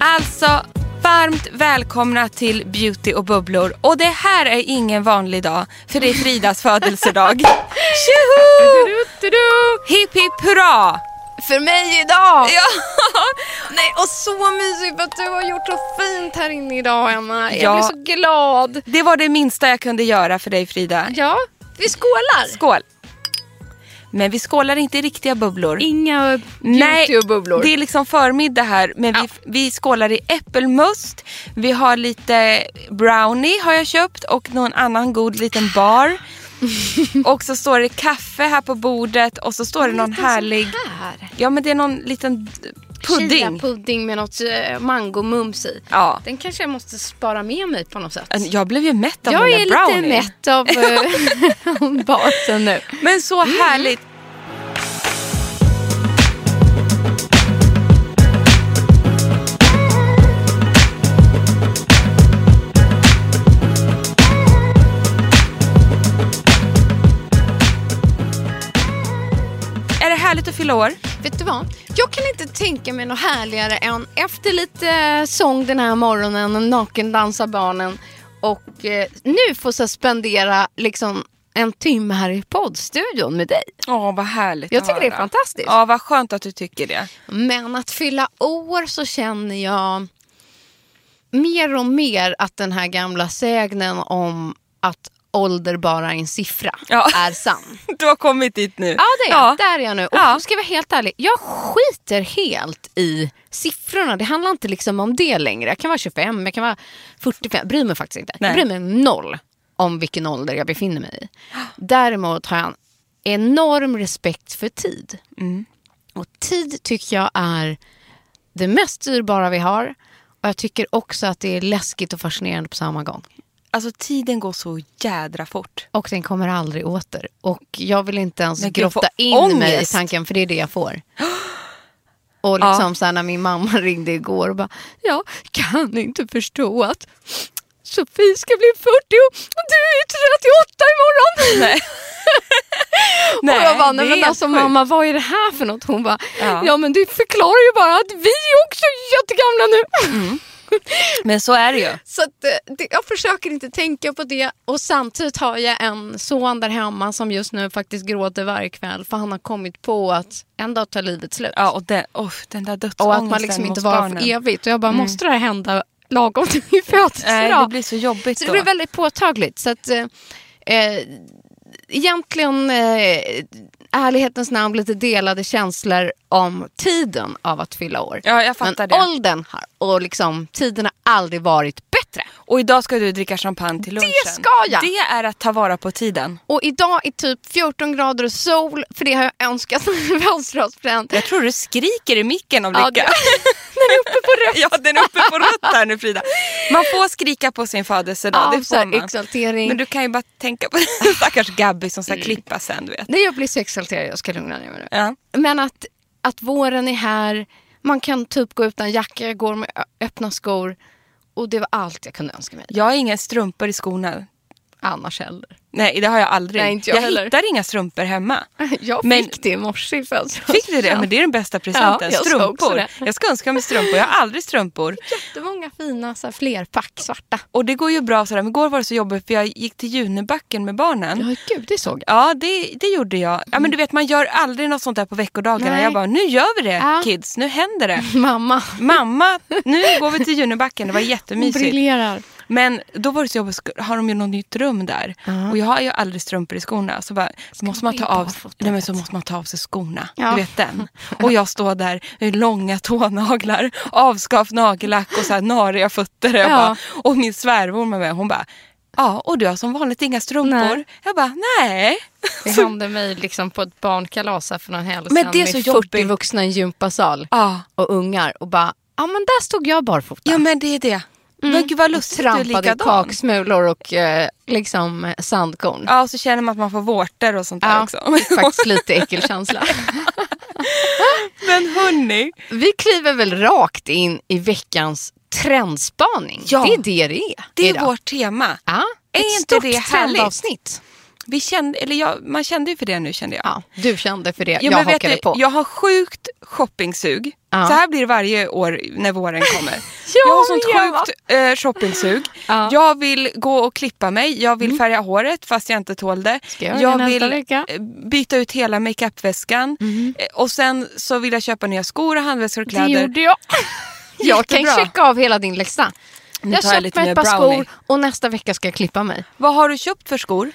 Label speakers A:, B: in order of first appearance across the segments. A: Alltså, varmt välkomna till Beauty och bubblor. Och det här är ingen vanlig dag, för det är Fridas födelsedag. Tjoho! Hipp hipp hurra!
B: För mig idag!
A: Ja.
B: Nej, och så mysigt att du har gjort så fint här inne idag, Emma. Jag
A: Ja.
B: blir så glad.
A: Det var det minsta jag kunde göra för dig Frida.
B: Ja, vi skålar.
A: Skål! Men vi skålar inte i riktiga bubblor.
B: Inga
A: Nej,
B: bubblor.
A: det är liksom förmiddag här men vi, vi skålar i äppelmust. Vi har lite brownie har jag köpt och någon annan god liten bar. och så står det kaffe här på bordet och så står det någon härlig...
B: Här.
A: Ja men det är någon liten pudding.
B: Chia-pudding med något eh, mangomums i.
A: Ja.
B: Den kanske jag måste spara med mig på något sätt.
A: Jag blev ju mätt av
B: jag
A: den
B: är
A: där brownie.
B: lite mätt av eh, basen nu.
A: Men så härligt. Är det härligt att fylla år?
B: Vet du vad? Jag kan inte tänka mig något härligare än efter lite eh, sång den här morgonen, naken dansar barnen och eh, nu får jag spendera liksom en timme här i poddstudion med dig.
A: Ja, vad härligt
B: Jag
A: att
B: tycker det är
A: höra.
B: fantastiskt.
A: Ja, vad skönt att du tycker det.
B: Men att fylla år så känner jag mer och mer att den här gamla sägnen om att ålder bara är en siffra
A: Ja.
B: är sann.
A: Du har kommit dit nu.
B: Ja, det är jag. Där är jag nu. Och
A: Ja.
B: ska jag vara helt ärlig, jag skiter helt i siffrorna. Det handlar inte liksom om det längre. Jag kan vara 25, jag kan vara 45. Jag bryr mig faktiskt inte.
A: Nej.
B: Jag bryr mig noll om vilken ålder jag befinner mig i. Däremot har jag en enorm respekt för tid.
A: Mm.
B: Och tid tycker jag är det mest dyrbara vi har. Och jag tycker också att det är läskigt och fascinerande på samma gång.
A: Alltså tiden går så jädra fort.
B: Och den kommer aldrig åter. Och jag vill inte ens
A: Men gud, jag får
B: grotta in mig i
A: ångest.
B: tanken, för det är det jag får. Och liksom så här, när min mamma ringde igår och bara, jag kan inte förstå att Sofie ska bli 40 och du är 38 imorgon. Nej. och jag bara,
A: det
B: nej
A: är
B: men
A: helt
B: alltså
A: sjukt.
B: mamma vad är det här för något? Hon bara,
A: Ja.
B: ja, men det förklarar ju bara att vi är också jättegamla nu.
A: Mm. Men så är det ju.
B: Så att, eh, det, jag försöker inte tänka på det och samtidigt har jag en son där hemma som just nu faktiskt gråter varje kväll för han har kommit på att en dag tar livet slut.
A: Ja, och den, oh, den där dödsångesten
B: och att man liksom inte
A: hos
B: var
A: barnen.
B: för evigt. Och jag bara, måste det här hända lagom till min
A: Nej,
B: födelsedag?
A: det blir så jobbigt
B: så
A: då.
B: det blir väldigt påtagligt. Så att, eh, eh, egentligen, eh, ärlighetens namn, lite delade känslor om tiden av att fylla år.
A: Ja, jag fattar
B: Men
A: det.
B: åldern har, och liksom, tiden har aldrig varit bättre.
A: Och idag ska du dricka champagne till lunchen.
B: ska jag!
A: Det är att ta vara på tiden.
B: Och idag är typ 14 grader och sol, för det har jag önskat mig i födelsedagspresent.
A: Jag tror du skriker i micken av
B: Ja,
A: lycka.
B: det-
A: den är uppe på rött. ja, den är uppe på rött här nu Frida. Man får skrika på sin födelsedag,
B: Ja,
A: det
B: så här
A: får man.
B: exaltering. Mm.
A: Men du kan ju bara tänka på den stackars Gabby som ska klippa sen, du vet.
B: Nej, jag blir så exalterad, jag ska lugna ner mig nu.
A: Ja.
B: Men att, att våren är här, man kan typ gå utan jacka, jag går med ö- öppna skor. Och det var allt jag kunde önska mig.
A: Jag har inga strumpor i skorna.
B: Annars heller.
A: Nej, det har jag aldrig.
B: Nej, inte jag heller.
A: hittar inga strumpor hemma.
B: Jag
A: Men-
B: fick det i morse i födelsedagspresent.
A: Fick du det? Men det är den bästa presenten.
B: jag sa också
A: strumpor.
B: det.
A: Jag ska önska mig strumpor. Jag har aldrig strumpor.
B: Jättemånga fina så här, flerpack svarta.
A: Och det går ju bra sådär. Men igår var det så jobbigt för jag gick till Junibacken med barnen.
B: Ja, gud, det såg jag.
A: Ja, det, det gjorde jag. Ja, men du vet, man gör aldrig något sånt där på veckodagarna.
B: Nej.
A: Jag bara, nu gör vi det
B: Ja.
A: kids, nu händer det.
B: Mamma,
A: Mamma, nu går vi till Junibacken. Det var
B: hon
A: jättemysigt.
B: briljerar.
A: Men då var det så jobbigt, sk- har de ju något nytt rum där.
B: Ja.
A: Och jag har ju aldrig strumpor i skorna. Så, bara, så, måste, man
B: vi
A: ta
B: bara
A: av,
B: få
A: nej, men så
B: det?
A: måste man ta av sig skorna.
B: Ja.
A: Du vet den. Och jag står där med långa tånaglar, avskavt nagellack och så här nariga fötter. Jag
B: Ja.
A: bara, och min svärmor med mig, hon bara, ja, och du har som vanligt inga strumpor.
B: Nej.
A: Jag bara, nej.
B: Det hände mig liksom på ett barnkalas här för någon helg
A: Men
B: sedan
A: det är
B: med
A: så
B: 40
A: jobbigt.
B: vuxna i en gympasal
A: Ja,
B: och ungar och bara, ja men där stod jag barfota.
A: ja men det är det. Men gud vad lustigt, du är
B: Mm. trampade i
A: likadan.
B: kaksmulor och eh, liksom eh, sandkorn.
A: Ja, liksom. och så känner man att man får vårtor och sånt där
B: Ja,
A: också.
B: faktiskt lite äckelkänsla.
A: Men hörni,
B: Vi kliver väl rakt in i veckans trendspaning.
A: Ja.
B: Det är det det är.
A: det är
B: idag.
A: vårt tema.
B: Ja,
A: Är
B: ett
A: inte
B: stort
A: det härligt?
B: trendavsnitt.
A: Vi kände, eller jag, man kände ju för det nu kände jag.
B: Ja, du kände för det.
A: Jo,
B: jag
A: men vet
B: hakade
A: du,
B: på.
A: Jag har sjukt shoppingsug.
B: Ja.
A: Så här blir det varje år när våren kommer.
B: Ja,
A: jag har sånt
B: men Eva.
A: sjukt eh, shoppingsug.
B: Ja. Mm.
A: Jag vill gå och klippa mig, jag vill färga håret fast jag inte tål det.
B: jag göra det nästa
A: vill
B: vecka? Mm-hmm.
A: eh, byta ut hela makeupväskan Eh, och sen så vill jag köpa nya skor och handväskor och
B: det
A: kläder.
B: gjorde jag. jag kan
A: Jättebra.
B: checka av hela din läxa.
A: tar
B: Jag
A: jag lite
B: köpte mig
A: mer
B: ett par
A: brownie.
B: skor och nästa vecka ska jag klippa mig.
A: Vad har du köpt för skor?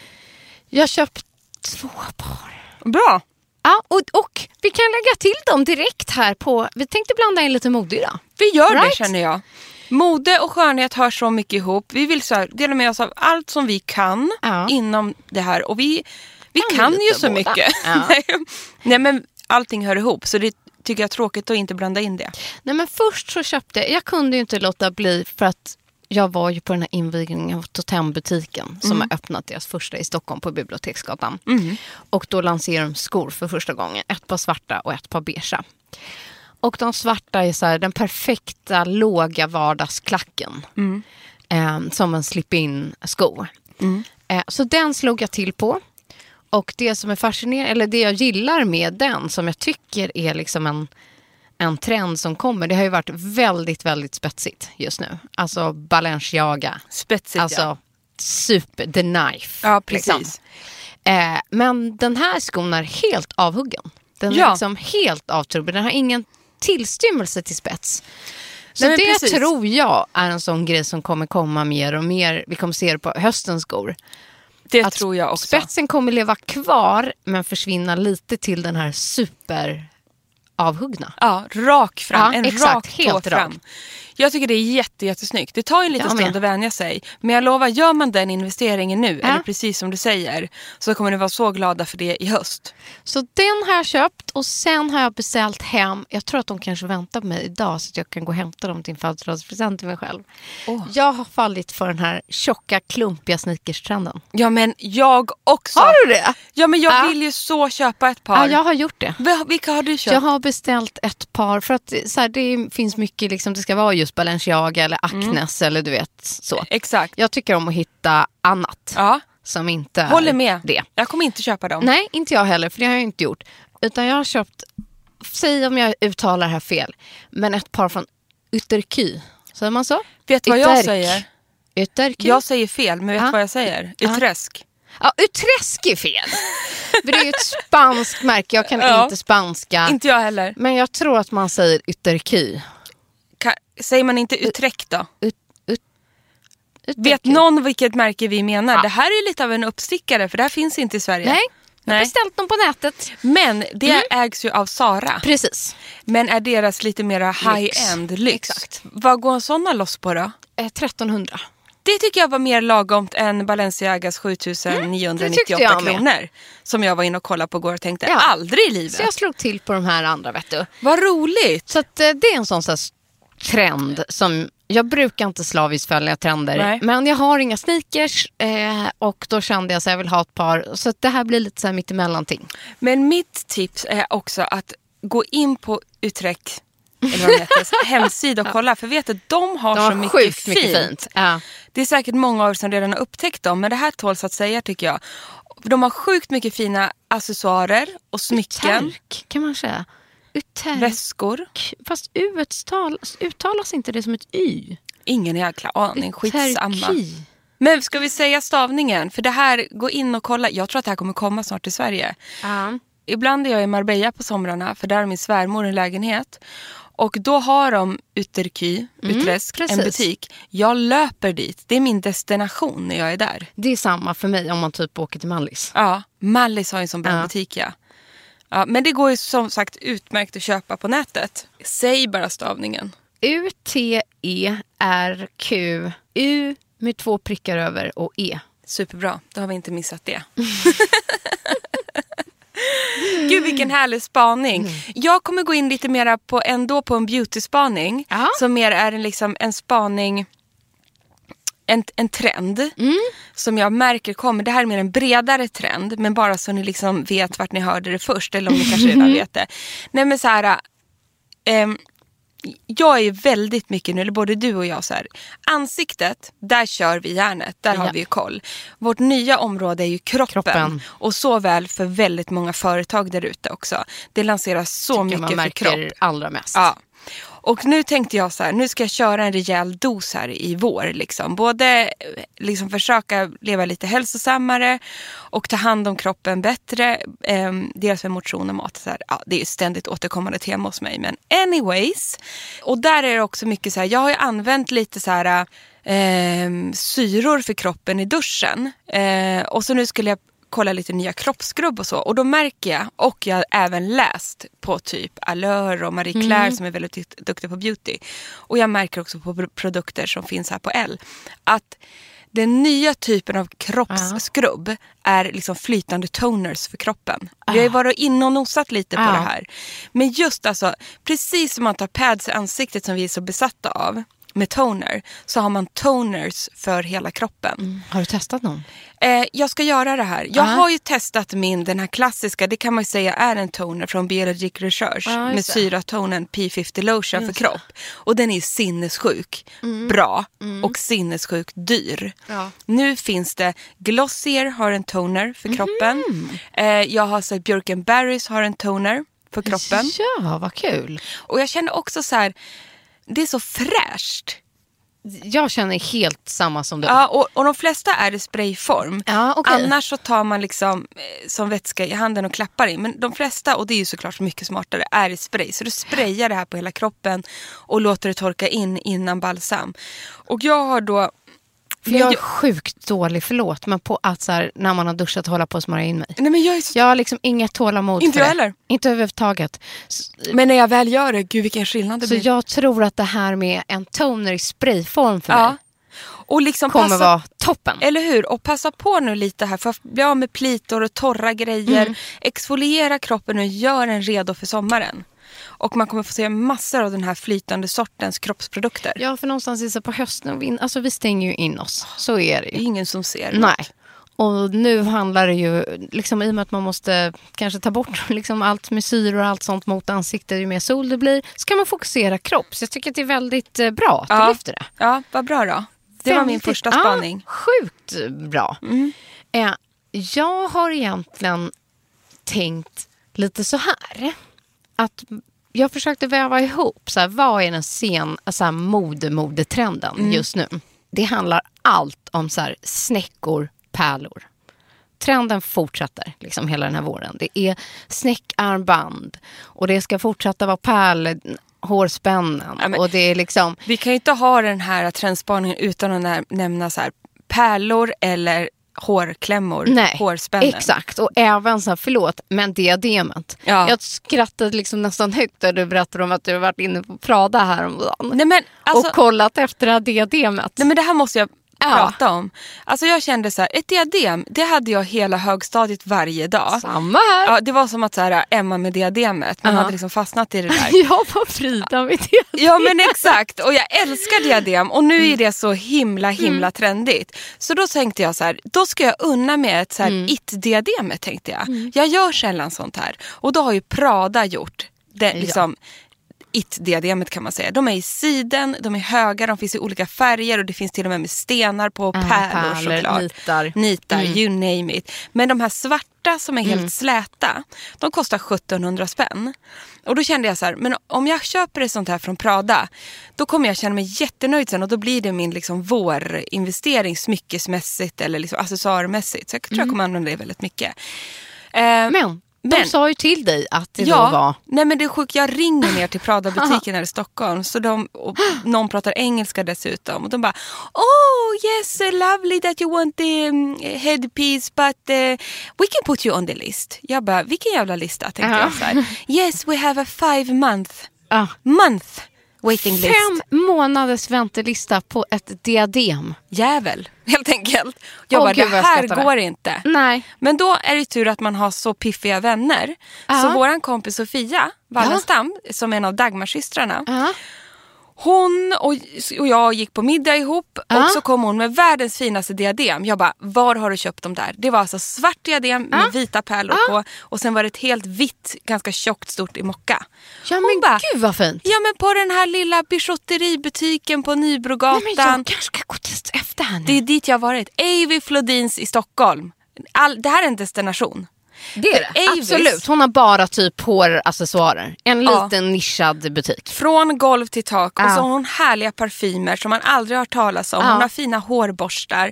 B: Jag köpte två par.
A: Bra.
B: Ja, och, och vi kan lägga till dem direkt här på... Vi tänkte blanda in lite mode idag.
A: Vi gör det
B: Right?
A: känner jag. Mode och skönhet hör så mycket ihop. Vi vill så här, dela med oss av allt som vi kan
B: Ja.
A: inom det här. Och vi, vi
B: Kan vi
A: kan
B: lite
A: ju så
B: båda?
A: mycket.
B: Ja.
A: Nej. Nej men allting hör ihop så det tycker jag är tråkigt att inte blanda in det.
B: Nej men först så köpte, jag kunde ju inte låta bli för att jag var ju på den här invigningen av Totembutiken som har öppnat deras första i Stockholm på Biblioteksgatan. Och då lanserar de skor för första gången, ett par svarta och ett par beige. Och de svarta är så här, den perfekta låga vardagsklacken. Eh, som en slip-in sko. Eh, så den slog jag till på. Och det som är fascinerande, eller det jag gillar med den som jag tycker är liksom en, en trend som kommer. Det har ju varit väldigt, väldigt spetsigt just nu. Alltså Balenciaga.
A: Spetsigt ja.
B: Alltså super, the knife. liksom.
A: Ja, precis.
B: Eh, men den här skon är helt avhuggen. Den
A: Ja.
B: är liksom helt avtrubbad. Den har ingen tillstymmelse till spets. Så
A: Nej, men
B: det
A: precis.
B: tror jag är en sån grej som kommer komma mer och mer. Vi kommer se det på höstens skor.
A: Det
B: Att
A: tror jag också.
B: Spetsen kommer leva kvar men försvinna lite till den här super avhuggna.
A: Ja, rak fram.
B: Ja,
A: en
B: exakt.
A: rak tå
B: Helt
A: fram.
B: rak.
A: Jag tycker det är jätte, jättesnyggt. Det tar ju en liten
B: Jag
A: stund
B: med.
A: att vänja sig. Men jag lovar, gör man den investeringen nu,
B: Ja.
A: eller precis som du säger, så kommer ni vara så glada för det i höst.
B: Så den har jag köpt och sen har jag beställt hem. Jag tror att de kanske väntar på mig idag så att jag kan gå och hämta dem till en födelsedagspresent till mig själv. Jag har fallit för den här tjocka, klumpiga sneakerstrenden.
A: Ja, men jag också.
B: Har du det?
A: Ja, men jag
B: Ja.
A: vill ju så köpa ett par.
B: Ja, jag har gjort det.
A: Vi- Vilka har du köpt?
B: Jag har beställt ett par för att så här, det finns mycket, liksom, det ska vara just Balenciaga eller Acnes eller du vet så.
A: Exakt.
B: Jag tycker om att hitta annat
A: Ja,
B: som inte är
A: håller med.
B: det.
A: Jag kommer inte köpa dem.
B: Nej, inte jag heller, för det har jag inte gjort. Utan jag har köpt, säg om jag uttalar det här fel, men ett par från Ytterky. Säger man så?
A: Vet du vad jag
B: Ytterk.
A: säger?
B: Ytterky?
A: Jag säger fel, men vet du
B: Ja.
A: vad jag säger? Utresk.
B: Ja, Utresk är fel. för det är ju ett spanskt märke, jag kan
A: Ja.
B: inte spanska.
A: Inte jag heller.
B: Men jag tror att man säger Ytterky.
A: Ka- säger man inte Utrecht då?
B: Ut, ut, Ytterky.
A: Vet någon vilket märke vi menar? Det här är ju lite av en uppstickare, för det här finns inte i Sverige.
B: Nej, jag har
A: Nej.
B: beställt dem på nätet.
A: Men det
B: Mm.
A: ägs ju av Sara.
B: Precis.
A: Men är deras lite mera high-end lyx.
B: Exakt.
A: Vad går sådana loss på då?
B: Eh, 1300.
A: Det tycker jag var mer lagomt än Balenciagas
B: Mm, det tyckte
A: 7998
B: jag med.
A: kronor. Som jag var inne och kollade på igår och tänkte,
B: Ja.
A: aldrig i livet.
B: Så jag slog till på de här andra vet du.
A: Vad roligt!
B: Så att, eh, det är en sån, så här s- trend som jag brukar inte slaviskt följa trender.
A: Nej.
B: Men jag har inga sneakers eh, och då kände jag att jag vill ha ett par. Så att det här blir lite så här mittemellanting.
A: Men mitt tips är också att gå in på Utrecht eller vad de heter, hemsida och kolla. För vet du, de har så
B: De har
A: mycket
B: sjukt
A: fint.
B: mycket fint. Ja.
A: Det är säkert många av er som redan har upptäckt dem, men det här tåls att säga tycker jag. De har sjukt mycket fina accessoarer och smycken,
B: Uterk kan man säga. Uterk.
A: väskor.
B: Fast u uttalas, uttalas inte det som ett y?
A: Ingen jäkla aning, skitsamma.
B: Uterki.
A: Men ska vi säga stavningen? För det här, gå in och kolla. Jag tror att det här kommer komma snart till Sverige.
B: Ja.
A: Ibland är jag i Marbella på somrarna för där har min svärmor en lägenhet. Och då har de Uterky, Utresk, en
B: Mm, precis.
A: butik. Jag löper dit. Det är min destination när jag är där.
B: Det är samma för mig om man typ åker till Mallis.
A: Ja, Mallis har ju en sån bra
B: Ja.
A: butik ja. ja. Men det går ju som sagt utmärkt att köpa på nätet.
B: E,
A: Säg bara stavningen.
B: U-T-E-R-Q-U Med två prickar över och E.
A: Superbra, då har vi inte missat det. Gud vilken härlig spaning. Jag kommer gå in lite mer på, ändå på en beauty-spaning.
B: Ja.
A: Som mer är en, liksom, en spaning, en, en trend. Som jag märker kommer. Det här är mer en bredare trend. Men bara så ni liksom vet vart ni hörde det först. Eller om ni kanske
B: Mm-hmm.
A: redan vet det. Nej men så här. ehm, jag är ju väldigt mycket nu, eller både du och jag, så här. ansiktet, där kör vi järnet, där har
B: Ja.
A: vi ju koll. Vårt nya område är ju kroppen,
B: Kroppen.
A: och så väl för väldigt många företag där ute också. Det lanseras så
B: Tycker man
A: mycket för
B: märker
A: kropp.
B: allra mest.
A: Ja. Och nu tänkte jag så här, nu ska jag köra en rejäl dos här i vår. Liksom. Både eh, liksom försöka leva lite hälsosammare och ta hand om kroppen bättre. Eh, dels med motion och mat. Så här, ja, det är ju ständigt återkommande tema hos mig. Men anyways. Och där är det också mycket så här, jag har ju använt lite så här eh, syror för kroppen i duschen. Eh, och så nu skulle jag kolla lite nya kroppsskrubb och så. Och då märker jag, och jag har även läst på typ Allure och Marie Claire som är väldigt dukt- duktiga på beauty. Och jag märker också på pro- produkter som finns här på L att den nya typen av kroppsskrubb är liksom flytande toners för kroppen. Jag har ju varit inne och nosat lite på
B: Ah.
A: det här. Men just alltså, precis som man tar pads i ansiktet som vi är så besatta av med toner, så har man toners för hela kroppen.
B: Har du testat någon?
A: Eh, jag ska göra det här. Jag
B: Ja.
A: har ju testat min, den här klassiska, det kan man ju säga är en toner från Biologic Research
B: Ja, Ah,
A: med
B: just det.
A: syratonen P50 Lotion för kropp. Och den är sinnessjuk bra och sinnessjuk dyr.
B: Mm. Ja.
A: Nu finns det, Glossier har en toner
B: Mhm.
A: för kroppen. Eh, jag har sett Björk Berries har en toner för kroppen.
B: Ja, vad kul.
A: Och jag känner också så här, det är så fräscht.
B: Jag känner helt samma som du.
A: Ja, och, och de flesta är i sprayform.
B: Ja, okej.
A: Annars så tar man liksom eh, som vätska i handen och klappar in. Men de flesta, och det är ju såklart mycket smartare, är i spray. Så du sprayar det här på hela kroppen och låter det torka in innan balsam. Och jag har då...
B: För jag är
A: jag,
B: sjukt dålig, förlåt, men på att så här, när man har duschat hålla på att smörja in mig.
A: nej men jag är så...
B: Jag har liksom inget tålamod
A: Inte
B: för
A: jag
B: det.
A: heller.
B: Inte överhuvudtaget. Så,
A: Men när jag väl gör det, gud vilken skillnad det
B: så
A: blir.
B: jag tror att det här med en toner i sprayform för
A: ja. Eh.
B: mig
A: Och liksom
B: kommer
A: passa
B: vara toppen.
A: Eller hur? Och passa på nu lite här för att bli av med plitor och torra grejer.
B: Mm.
A: Exfoliera kroppen och gör den redo för sommaren. Och man kommer få se massor av den här flytande sortens kroppsprodukter.
B: Ja, för någonstans är det så på hösten, och vin- alltså vi stänger ju in oss. Så är det
A: Det är
B: ju.
A: ingen som ser.
B: Nej. Och nu handlar det ju, liksom, i och med att man måste kanske ta bort liksom, allt med syror och allt sånt mot ansiktet ju mer sol det blir, så kan man fokusera kropp. Så jag tycker att det är väldigt eh, bra att
A: Ja.
B: du lyfter det.
A: Ja, vad bra då. Det var min
B: Väldigt-
A: första spaning. Mm.
B: Ja, sjukt bra. Eh, jag har egentligen tänkt lite så här. Att jag försökte väva ihop, så här, vad är den sen, så här, mode, modetrenden
A: Mm.
B: just nu? Det handlar allt om så här, snäckor, pärlor. Trenden fortsätter liksom hela den här våren. Det är snäckarmband och det ska fortsätta vara pärlhårspännen.
A: Ja, men-
B: och det är liksom
A: Vi kan ju inte ha den här trendspaningen utan att nä- nämna så här, pärlor eller hårklämmor,
B: Nej,
A: hårspännen.
B: Exakt, och även så här, förlåt, men diademet.
A: Ja.
B: Jag skrattade liksom nästan högt när du berättade om att du varit inne på Prada häromdagen.
A: Nej, men, alltså,
B: och kollat efter det här diademet.
A: Nej men det här måste jag
B: Ja.
A: prata om. Alltså jag kände så här, ett diadem, det hade jag hela högstadiet varje dag.
B: Samma här.
A: Ja, det var som att så här, Emma med diademet, man
B: Ja.
A: hade liksom fastnat i det där.
B: Jag var Frida med det.
A: Ja men exakt och jag älskar diadem och
B: Mm.
A: nu är det så himla himla trendigt. Så då tänkte jag så här, då ska jag unna mig ett så här
B: Mm.
A: it-diadem tänkte jag. Jag gör sällan sånt här och då har ju Prada gjort det, liksom, it-diademet kan man säga. De är i siden, de är höga, de finns i olika färger och det finns till och med med stenar på och
B: Ja,
A: pärlor,
B: pärlor,
A: såklart.
B: nitar. Mm.
A: nitar you name it. Men de här svarta som är helt släta, de kostar 1700 spänn. Och då kände jag så här, men om jag köper ett sånt här från Prada, då kommer jag känna mig jättenöjd sen och då blir det min liksom vårinvestering smyckesmässigt eller liksom accessoarmässigt. Så jag tror jag
B: Mm.
A: kommer använda det väldigt mycket. Eh,
B: Men, de
A: Men-
B: sa ju till dig att det då var...
A: nej men det är sjukt. Jag ringer ner till Prada-butiken här i Stockholm så de, och någon pratar engelska dessutom och de bara Oh yes, uh, lovely that you want the um, headpiece but uh, we can put you on the list. Jag bara, vilken jävla lista tänkte
B: Ja.
A: jag så här. Yes, we have a five month
B: Ah,
A: month Waiting list.
B: Fem månaders väntelista på ett diadem.
A: Jävel, helt enkelt. Jag
B: Åh,
A: bara,
B: gud, vad
A: det
B: jag
A: här
B: skrattar.
A: går inte.
B: Nej.
A: Men då är det tur att man har så piffiga vänner.
B: Ja.
A: Så vår kompis Sofia Wallenstam, som är en av Dagmarsystrarna,
B: Ja.
A: hon och, och jag gick på middag ihop
B: Ja.
A: och så kom hon med världens finaste diadem. Jag bara, var har du köpt dem där? Det var alltså svart diadem
B: Ja.
A: med vita pärlor
B: Ja.
A: på och sen var det ett helt vitt, ganska tjockt, stort i mocka.
B: ja
A: Hon
B: men
A: bara,
B: gud vad fint.
A: Ja men på den här lilla bijouteributiken på
B: Nej, men jag
A: Nybrogatan.
B: kanske ska gå dit efter här nu.
A: Det är dit jag har varit. Avi Flodins i Stockholm. All, det här är en destination.
B: Det är
A: För Avis-
B: Absolut, hon har bara typ håraccessoarer. En
A: Ja.
B: liten nischad butik.
A: Från golv till tak och
B: Ja.
A: så har hon härliga parfymer som man aldrig har hört talas om.
B: Ja.
A: Hon har fina hårborstar.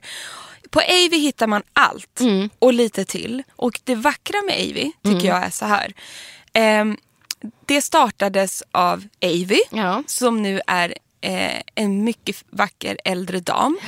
A: På Avi hittar man allt
B: Mm.
A: och lite till. Och det vackra med Avi tycker jag är så här. Ehm, det startades av Avi
B: Ja.
A: som nu är eh, en mycket vacker äldre dam.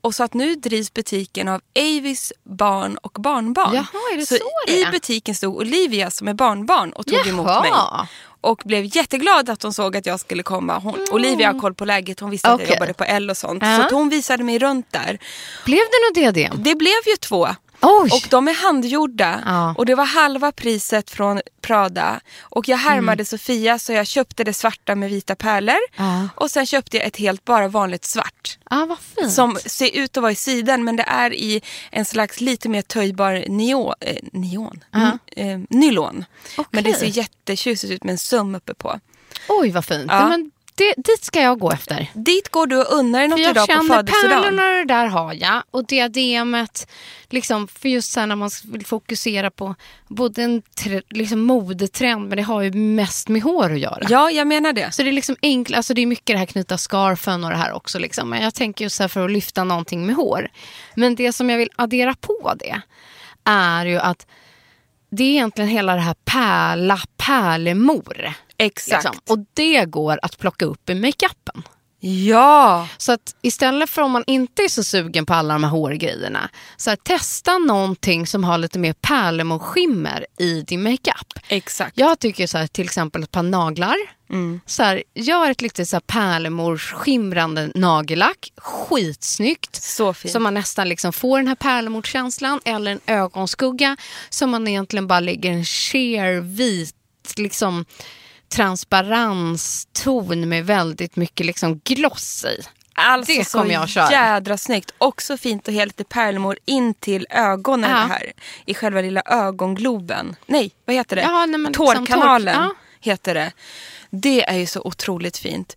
A: Och så att nu drivs butiken av Avis barn och barnbarn.
B: Jaha, är det så det
A: I
B: är?
A: butiken stod Olivia som är barnbarn och tog emot
B: Jaha.
A: mig. Och blev jätteglad att hon såg att jag skulle komma. Hon, Olivia har koll på läget, hon visste att
B: Mm. Okej.
A: jag jobbade på L och sånt.
B: Ja.
A: Så att hon visade mig runt där.
B: Blev det något diadem?
A: Det blev ju två.
B: Oj!
A: Och de är handgjorda
B: Ja.
A: och det var halva priset från Prada. Och jag härmade
B: Mm.
A: Sofia så jag köpte det svarta med vita pärlor.
B: Ja.
A: Och sen köpte jag ett helt bara vanligt svart.
B: Ja, vad fint.
A: Som ser ut att vara i sidan men det är i en slags lite mer töjbar neo, eh, neon,
B: Ja.
A: N- eh, nylon. Men det ser
B: Okej.
A: jättetjusigt ut med en söm uppe på.
B: Oj, vad fint.
A: Ja.
B: Ja. Men det, dit ska jag gå efter.
A: Dit går du och unnar dig något
B: För jag
A: idag på
B: känner
A: födelsedagen.
B: pärlorna det där har jag och diademet, liksom, för just så här när man vill fokusera på både en tre, liksom modetrend men det har ju mest med hår att göra.
A: Ja, jag menar det.
B: Så det är liksom enkelt, alltså det är mycket det här knyta scarfen och det här också. Liksom. Men jag tänker just så här för att lyfta någonting med hår. Men det som jag vill addera på det är ju att det är egentligen hela det här pärla, pärlemor.
A: Exakt.
B: Liksom. Och det går att plocka upp i makeupen.
A: Ja,
B: Så att istället för om man inte är så sugen på alla de här hårgrejerna, så här, testa någonting som har lite mer pärlemorskimmer i din makeup.
A: exakt.
B: Jag tycker så här, till exempel ett par naglar.
A: Mm.
B: Så här, gör ett lite så här pärlemorskimrande nagellack. Skitsnyggt.
A: Så fint.
B: Så man nästan liksom får den här pärlemorkänslan. Eller en ögonskugga som man egentligen bara lägger en sheer vit liksom, transparenston med väldigt mycket liksom, gloss i.
A: Alltså
B: Det
A: så
B: kommer jag köra.
A: jädra snyggt. Också fint att ha lite pärlemor in till ögonen
B: Ja.
A: det här. I själva lilla ögongloben. Nej, vad heter det?
B: Ja, nej, men liksom
A: Tårkanalen
B: tår- ja.
A: heter det. Det är ju så otroligt fint.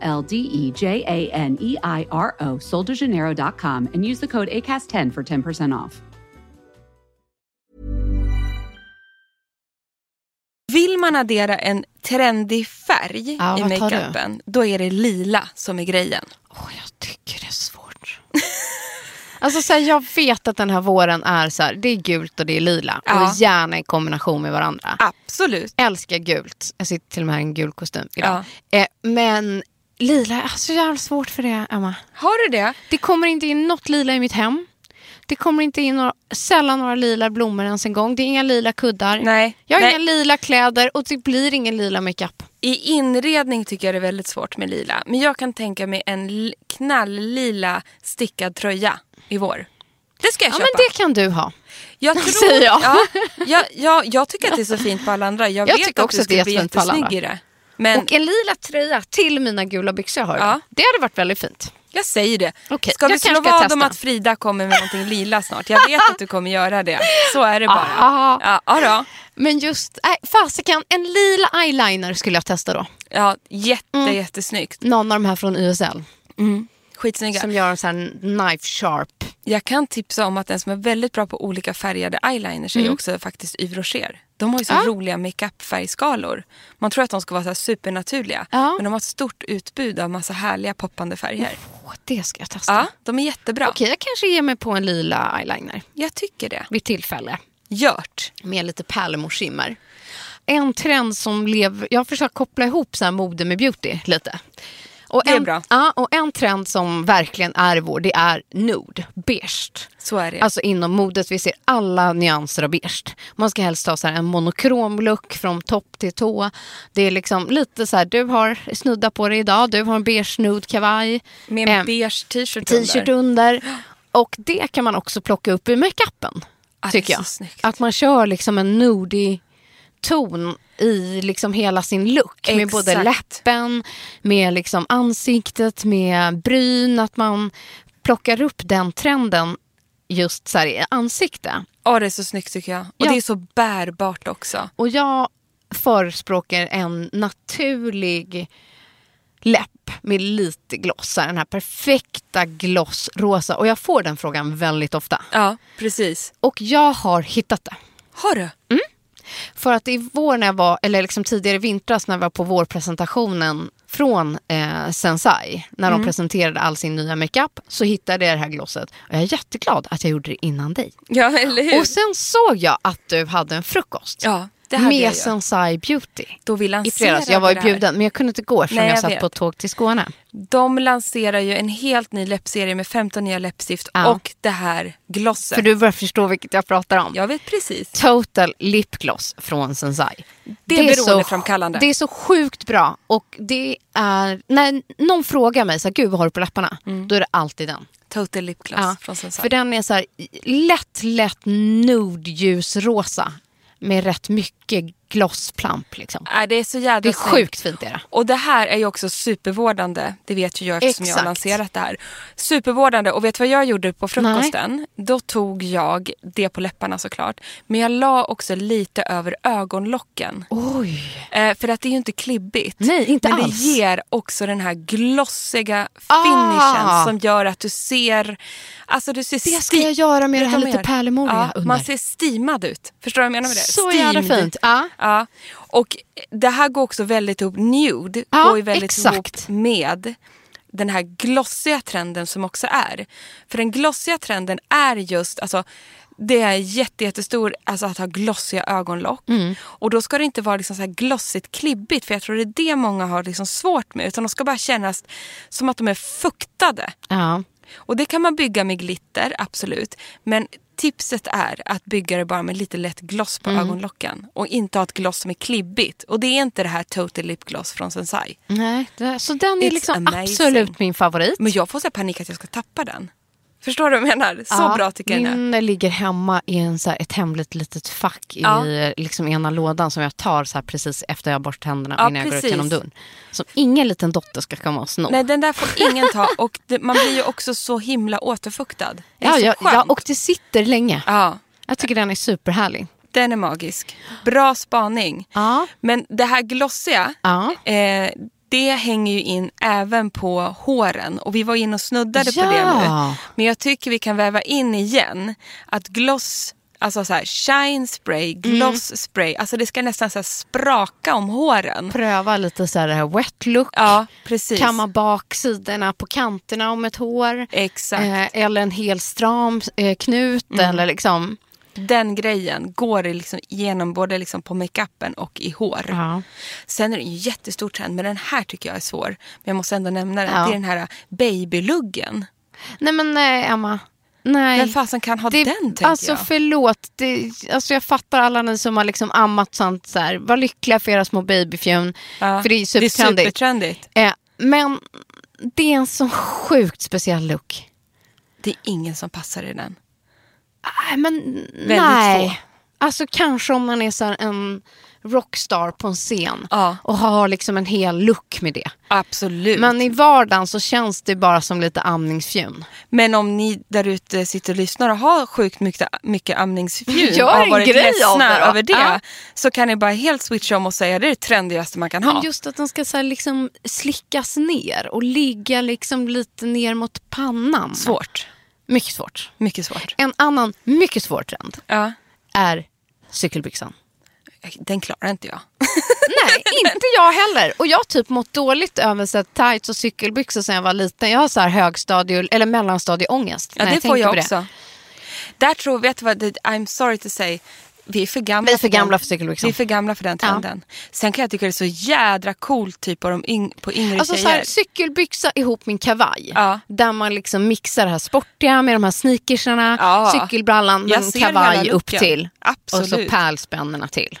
C: L D E J A N E I R O, soldejaneiro.com, and use the code ACAST10 for 10% off.
A: Vill man addera en trendig färg
B: Ja,
A: i
B: vad tar du?
A: makeupen, då är det lila som är grejen.
B: Åh, jag tycker det är svårt. alltså, så här, jag vet att den här våren är så här, det är gult och det är lila.
A: Ja.
B: Och gärna i kombination med varandra.
A: Absolut.
B: Älskar gult. Jag sitter till och med här i en gul kostym idag.
A: Ja.
B: Eh, men lila, jag har så jävla svårt för det, Emma.
A: Har du det?
B: Det kommer inte in något lila i mitt hem. Det kommer inte in några, sällan några lila blommor ens en gång. Det är inga lila kuddar.
A: Nej.
B: Jag har
A: Nej.
B: inga lila kläder och det blir ingen lila makeup.
A: I inredning tycker jag det är väldigt svårt med lila. Men jag kan tänka mig en l- knalllila stickad tröja i vår. Det ska jag
B: Ja,
A: köpa.
B: men det kan du ha.
A: jag tror,
B: säger jag.
A: Ja, jag, jag, jag tycker att det är så fint på alla andra. Jag,
B: Jag
A: vet
B: tycker
A: att
B: också
A: du
B: att det
A: skulle
B: är
A: bli
B: jättefint på alla
A: jättesnygg i det. Men
B: Och en lila tröja till mina gula byxor har jag.
A: Ja.
B: Det hade varit väldigt fint.
A: jag säger det.
B: Okej,
A: ska vi
B: jag kanske
A: slå
B: ska
A: vad om
B: testa.
A: att Frida kommer med någonting lila snart? Jag vet att du kommer göra det. Så är det bara.
B: Ah.
A: Ja, ja, då.
B: Men just, nej, fasiken, en lila eyeliner skulle jag testa då.
A: ja jätte,
B: Mm.
A: jättesnyggt.
B: Någon av de här från USL
A: Skitsnygga.
B: som gör en sån här knife sharp.
A: Jag kan tipsa om att en som är väldigt bra på olika färgade eyeliners
B: Mm.
A: är också faktiskt Yves Rocher. De har ju så roliga makeup-färgskalor. Man tror att de ska vara så här supernaturliga.
B: Ja.
A: Men de har ett stort utbud av massa härliga poppande färger.
B: Åh, det ska jag testa.
A: Ja, de är jättebra.
B: Okej, jag kanske ger mig på en lila eyeliner
A: Jag tycker det.
B: vid tillfälle.
A: Gjort.
B: Med lite pärlemorskimmer. En trend som lev... Jag har försökt koppla ihop så här mode med beauty lite. Och
A: Det är
B: en,
A: bra.
B: Ja, och en trend som verkligen är vår, det är nude, beige.
A: Så är det.
B: Alltså inom modet, vi ser alla nyanser av beige. Man ska helst ha så här en monokrom look från topp till tå. Det är liksom lite så här, du har snudda på dig idag, du har en beige nude kavaj.
A: med en
B: eh,
A: beige t-shirt,
B: t-shirt
A: under.
B: under. Och det kan man också plocka upp i makeupen.
A: Ah, det
B: tycker
A: är så
B: jag.
A: snyggt.
B: Att man kör liksom en nudig ton i liksom hela sin look. Med både
A: Exakt.
B: läppen, med liksom ansiktet, med bryn. Att man plockar upp den trenden just så här i ansikte.
A: Ja, det är så snyggt tycker jag. Och
B: Ja.
A: det är så bärbart också.
B: Och jag förespråkar en naturlig läpp med lite gloss. så här Den här perfekta glossrosa. Och jag får den frågan väldigt ofta.
A: Ja, precis.
B: Och jag har hittat det.
A: Har du?
B: Mm. För att i vår när jag var, eller liksom tidigare i vintras när jag var på vårpresentationen från eh, Sensai, när
A: Mm.
B: de presenterade all sin nya makeup, så hittade jag det här glosset. Och jag är jätteglad att jag gjorde det innan dig.
A: Ja, eller hur?
B: Och sen såg jag att du hade en frukost
A: ja, det hade jag
B: med
A: ju.
B: Sensai Beauty.
A: Då vi
B: I
A: lanserade
B: fredags, jag var ju
A: det här.
B: bjuden men jag kunde inte gå eftersom
A: Nej,
B: jag,
A: jag
B: satt
A: vet.
B: på ett tåg till Skåne.
A: De lanserar ju en helt ny läppserie med 15 nya läppstift
B: Ja.
A: och det här glosset.
B: För du börjar förstå vilket jag pratar om.
A: Jag vet precis.
B: Total lipgloss från Sensai.
A: Det är beroendeframkallande.
B: Så, det är så sjukt bra. Och det är, när någon frågar mig så här, gud vad har du på läpparna? Då är det alltid den.
A: Total Lip Gloss
B: Ja,
A: Mm. från Sensai.
B: För den är så här, lätt, lätt nude ljusrosa med rätt mycket glossplamp. Liksom.
A: Nej, Äh, det är så jävla
B: Det är
A: snyggt.
B: sjukt fint. Är det.
A: Och det här är ju också supervårdande. Det vet ju jag eftersom jag har
B: Exakt.
A: lanserat det här. Supervårdande. Och vet du vad jag gjorde på frukosten? Då tog jag det på läpparna såklart. Men jag la också lite över ögonlocken.
B: Oj.
A: Eh, för att det är ju inte klibbigt.
B: Nej, inte
A: men
B: alls.
A: det ger också den här glossiga
B: Ah.
A: finishen som gör att du ser... Alltså du ser
B: Det ska jag göra med det här lite pärlemor jag
A: ja,
B: undrar.
A: Man ser steamad ut. Förstår du vad jag menar med det?
B: Så jävla
A: Steamed.
B: fint. Ja.
A: Ja. Och det här går också väldigt ihop. Nude
B: Ja,
A: går ju väldigt
B: exakt.
A: ihop med den här glossiga trenden som också är. För den glossiga trenden är just, alltså det är jätte, jättestor, alltså att ha glossiga ögonlock.
B: Mm.
A: Och då ska det inte vara liksom så här glossigt klibbigt för jag tror det är det många har liksom svårt med. Utan de ska bara kännas som att de är fuktade.
B: Ja.
A: Och det kan man bygga med glitter, absolut. Men tipset är att bygga det bara med lite lätt gloss på
B: Mm.
A: ögonlocken. Och inte ha ett gloss som är klibbigt. Och det är inte det här Total Lip Gloss från Sensai.
B: Nej, det, så den
A: It's
B: är liksom
A: amazing.
B: absolut min favorit.
A: Men jag får så här panik att jag ska tappa den. Förstår du vad jag menar? Så
B: Ja, Mm.
A: bra tycker jag den är.
B: Min eh, ligger hemma i en, så här, ett hemligt litet fack i
A: Ja.
B: liksom, ena lådan som jag tar så här, precis efter jag har borstat händerna
A: Ja,
B: innan jag går
A: precis.
B: ut genom dörren. Som ingen liten dotter ska komma och sno.
A: Nej, den där får ingen ta. Och det, man blir ju också så himla återfuktad. Det är
B: ja,
A: så
B: ja,
A: skönt.
B: ja, och det sitter länge.
A: ja,
B: Jag tycker den är superhärlig.
A: den är magisk. Bra spaning.
B: Ja.
A: Men det här glossiga,
B: Ja.
A: eh, det hänger ju in även på håren. Och vi var inne och snuddade på det
B: Ja.
A: nu. Men jag tycker vi kan väva in igen att gloss, alltså så här, shine spray,
B: Mm.
A: gloss spray, alltså det ska nästan så här spraka om håren.
B: Pröva lite så här, det här wet look.
A: Ja, precis.
B: Kamma bak sidorna på kanterna om ett hår.
A: Exakt. Mm.
B: Eh, eller en hel stram eh, knut. Eller liksom.
A: Den grejen går det liksom igenom både liksom på makeupen och i hår.
B: Ja.
A: Sen är det en jättestor trend, men den här tycker jag är svår. Men jag måste ändå nämna den.
B: Ja.
A: Det är den här babyluggen.
B: Nej men eh, Emma, Nej.
A: Vem fasen kan ha
B: det,
A: den tänker
B: alltså
A: jag.
B: förlåt, det, alltså jag fattar alla ni som har liksom ammat sånt så här. Var lyckliga för era små babyfjun.
A: Ja,
B: För det är supertrendigt.
A: supertrendigt.
B: eh, men det är en så sjukt speciell look.
A: Det är ingen som passar i den.
B: Nej, men nej.
A: få.
B: Alltså kanske om man är så här en rockstar på en scen
A: Ja.
B: och har liksom en hel look med det.
A: Absolut.
B: Men
A: Men,
B: i vardagen så känns det bara som lite amningsfjun.
A: om ni där ute sitter och lyssnar och har sjukt mycket, mycket amningsfjun
B: Gör
A: och har
B: en
A: varit
B: grej av
A: ledsna
B: det då.
A: över det
B: Ja.
A: så kan ni bara helt switcha om och säga det är det trendigaste man kan ha.
B: Men just att den ska så här liksom slickas ner och ligga liksom lite ner mot pannan.
A: Svårt.
B: Mycket svårt.
A: Mycket svårt.
B: En annan mycket svår trend
A: Ja.
B: är cykelbyxan.
A: Den klarar inte jag.
B: Nej, inte jag heller. Och jag har typ mått dåligt över så här tights och cykelbyxor sedan jag var liten. Jag har så här högstadie eller mellanstadieångest.
A: Ja,
B: när
A: det
B: jag
A: får
B: tänker
A: jag
B: på det.
A: också. Där tror vet du vad, det, I'm sorry to say, vi är för gamla,
B: Vi är för gamla
A: den.
B: för cykelbyxan.
A: Vi är för gamla för den
B: Ja.
A: trenden. Sen kan jag tycka det är så jädra coolt typ på, de yng, på yngre
B: Alltså så
A: tjejer.
B: här, cykelbyxa ihop min kavaj.
A: Ja.
B: Där man liksom mixar det här sportiga med de här sneakersarna,
A: Ja.
B: cykelbrallan,
A: Jag
B: men
A: ser hela
B: kavaj
A: looken.
B: upp till.
A: Absolut. Mm.
B: Och så pärlspännena till.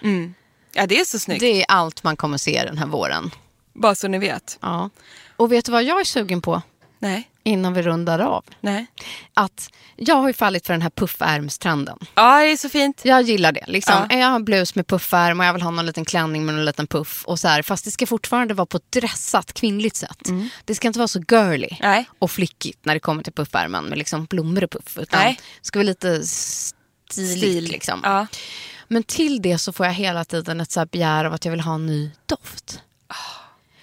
A: Ja det är så snyggt,
B: Det är allt man kommer se den här våren.
A: bara så ni vet.
B: Ja. Och vet du vad jag är sugen på
A: Nej,
B: innan vi rundar av?
A: nej.
B: Att jag har ju fallit för den här puffärmstrenden.
A: Ja det är så fint.
B: Jag gillar det. Liksom.
A: Ja.
B: Jag har en blus med puffärm och jag vill ha någon liten klänning med någon liten puff. Och så här. Fast det ska fortfarande vara på ett dressat kvinnligt sätt. Det ska inte vara så girly
A: Mm. Nej.
B: och flickigt när det kommer till puffärmen med liksom blommor och puff. Utan
A: Nej.
B: det ska vara lite stiligt. Liksom.
A: Ja.
B: Men till det så får jag hela tiden ett så här begär av att jag vill ha en ny doft.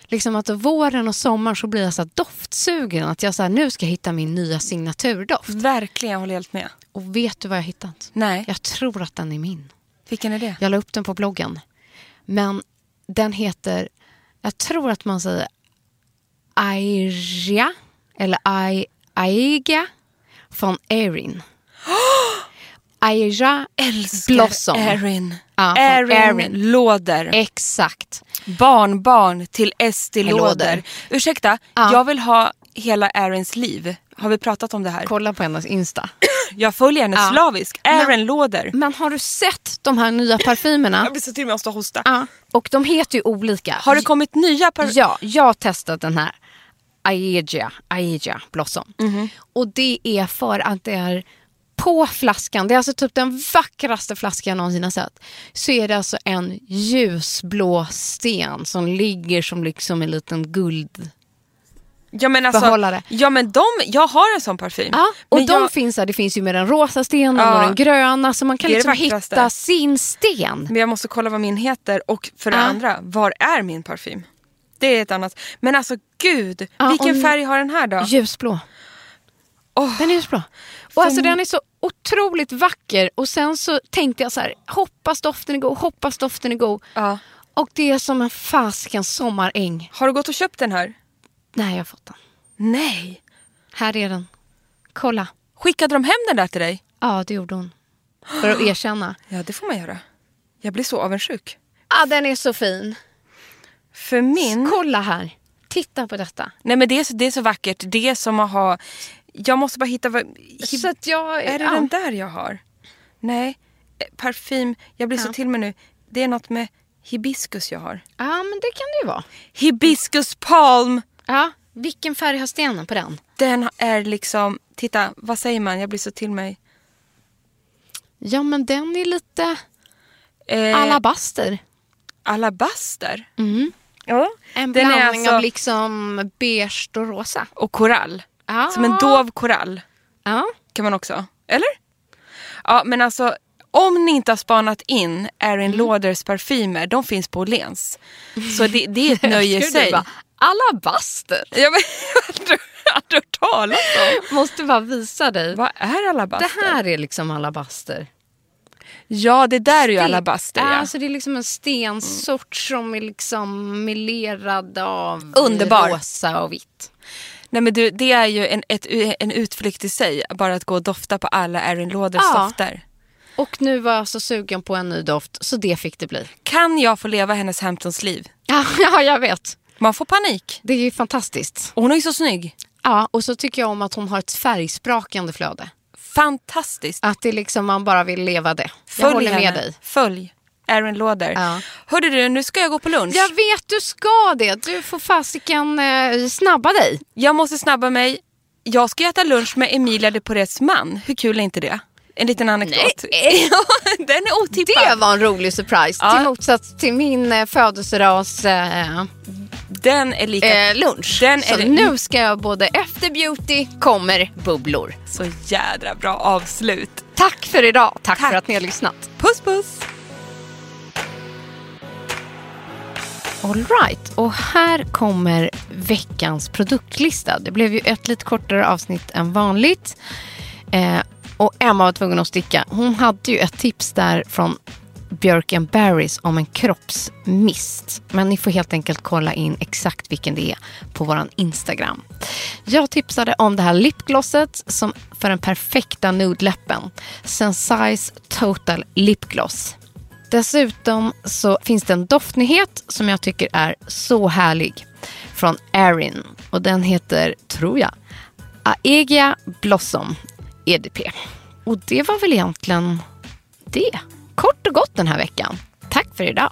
B: Liksom att våren och sommaren så blir jag så här doftsugen. Att jag så här, nu ska jag hitta min nya signaturdoft.
A: Verkligen, jag håller helt med.
B: Och vet du vad jag har hittat?
A: Nej,
B: Jag tror att den är min.
A: vilken är det?
B: Jag la upp den på bloggen. Men den heter, jag tror att man säger Airia eller Ai- Aiga från Erin. Airia
A: Älskar
B: Blossom.
A: Erin.
B: Ja, från
A: Erin,
B: Erin.
A: Låder.
B: Exakt.
A: Barnbarn till Esti
B: Låder.
A: Låder. Ursäkta,
B: Ja.
A: jag vill ha hela Erins liv. Har vi pratat om det här?
B: Kolla på hennes Insta.
A: Jag följer henne
B: Ja.
A: slavisk. Erin Låder.
B: Men har du sett de här nya parfymerna?
A: Jag blir så till och med måste hosta.
B: Ja. Och de heter ju olika.
A: Har det kommit nya par...
B: Ja, jag har testat den här Aegia, Aegia Blossom.
A: Mhm.
B: Och det är för att det är på flaskan, det är alltså typ den vackraste flaskan jag någonsin har sett, så är det alltså en ljusblå sten som ligger som liksom en liten guld...
A: Ja, men alltså,
B: Behållare.
A: Ja men de, jag har en sån parfym.
B: Ja, och
A: Mm. men
B: de
A: jag,
B: finns här, det finns ju med den rosa stenen
A: Ja.
B: och den gröna, så man kan
A: Det är det
B: liksom
A: vackraste.
B: hitta sin sten.
A: men jag måste kolla vad min heter och för det
B: Ja.
A: andra, var är min parfym? Det är ett annat. Men alltså gud,
B: Ja,
A: vilken
B: om-
A: färg har den här då?
B: Ljusblå.
A: Åh.
B: Den är ljusblå. Och alltså den är så otroligt vacker och sen så tänkte jag så här, hoppas doften är god, hoppas doften är god.
A: Ja.
B: Och det är som en faskens sommaräng.
A: Har du gått och köpt den här?
B: Nej, jag har fått den.
A: Nej.
B: Här är den. Kolla.
A: Skickade de hem den där till dig?
B: Ja, det gjorde hon. För att erkänna.
A: Ja det får man göra. Jag blir så avundsjuk.
B: Ja, den är så fin.
A: För min...
B: Kolla här. Titta på detta.
A: Nej men det är, så, det är så vackert. Det är som att ha... Jag måste bara hitta... Vad... Hib-
B: Så att jag...
A: Är det
B: ja.
A: den där jag har? Nej. Eh, Parfym. Jag blir så
B: Ja.
A: till mig nu. Det är något med hibiskus jag har.
B: ja, men det kan det ju vara.
A: Hibiskus palm!
B: Ja, vilken färg har stenen på den?
A: Den är liksom... Titta, vad säger man? Jag blir så till mig.
B: Ja, men den är lite
A: Eh,
B: alabaster.
A: Alabaster?
B: Mm.
A: Ja.
B: En
A: Den är
B: blandning
A: alltså-
B: av liksom beige och rosa.
A: Och korall.
B: Ja.
A: Som en dov korall.
B: Ja.
A: kan man också. Eller? Ja, men alltså om ni inte har spanat in Erin
B: Mm.
A: Lauders parfymer, de finns på Åhléns. Så det, det är ett nöje i
B: Skulle du
A: sig.
B: bara, Alabaster.
A: Jag men, jag har aldrig- aldrig hört talas om.
B: Måste bara visa dig.
A: Vad är alabaster?
B: Det här är liksom alabaster.
A: Ja, det där är ju
B: Det-
A: alabaster. Ja.
B: Alltså det är liksom en stensort som är liksom melerad av
A: Underbar.
B: rosa och vitt.
A: Nej, men du, det är ju en, ett, en utflykt i sig, bara att gå och dofta på alla Erin Lauders
B: Ja.
A: dofter.
B: Och nu var jag så sugen på en ny doft så det fick det bli.
A: Kan jag få leva hennes Hamptons liv?
B: Ja, ja jag vet.
A: Man får panik.
B: Det är ju fantastiskt.
A: Hon är ju så snygg.
B: Ja, och så tycker jag om att hon har ett färgsprakande flöde.
A: Fantastiskt.
B: Att det liksom man bara vill leva det. jag håller med
A: henne.
B: dig.
A: Följ Erin Lauder.
B: Ja.
A: Hörde du, nu ska jag gå på lunch.
B: Jag vet du ska det. Du får fasiken eh, snabba dig.
A: Jag måste snabba mig. Jag ska äta lunch med Emilia de Porets man. Hur kul är inte det? En liten anekdot.
B: Nej.
A: Ja, Den är otippad.
B: Det var en rolig surprise.
A: Ja.
B: Till motsats till min eh, födelsedags eh,
A: Den är lika...
B: eh, lunch.
A: Den
B: Så
A: är det-
B: nu ska jag både efter beauty kommer bubblor.
A: Så jädra bra avslut.
B: Tack för idag. Tack,
A: Tack.
B: för att ni har lyssnat.
A: Puss puss!
B: All right. Och här kommer veckans produktlista. Det blev ju ett lite kortare avsnitt än vanligt. Eh, och Emma var tvungen att sticka. Hon hade ju ett tips där från Björk and Barrys om en kroppsmist. Men ni får helt enkelt kolla in exakt vilken det är på vår Instagram. Jag tipsade om det här lipglosset som för den perfekta nude-läppen. Sensize Total Lipgloss. Dessutom så finns det en doftnyhet som jag tycker är så härlig från Erin och den heter, tror jag, Aegia Blossom EDP. Och det var väl egentligen det. Kort och gott den här veckan. Tack för idag.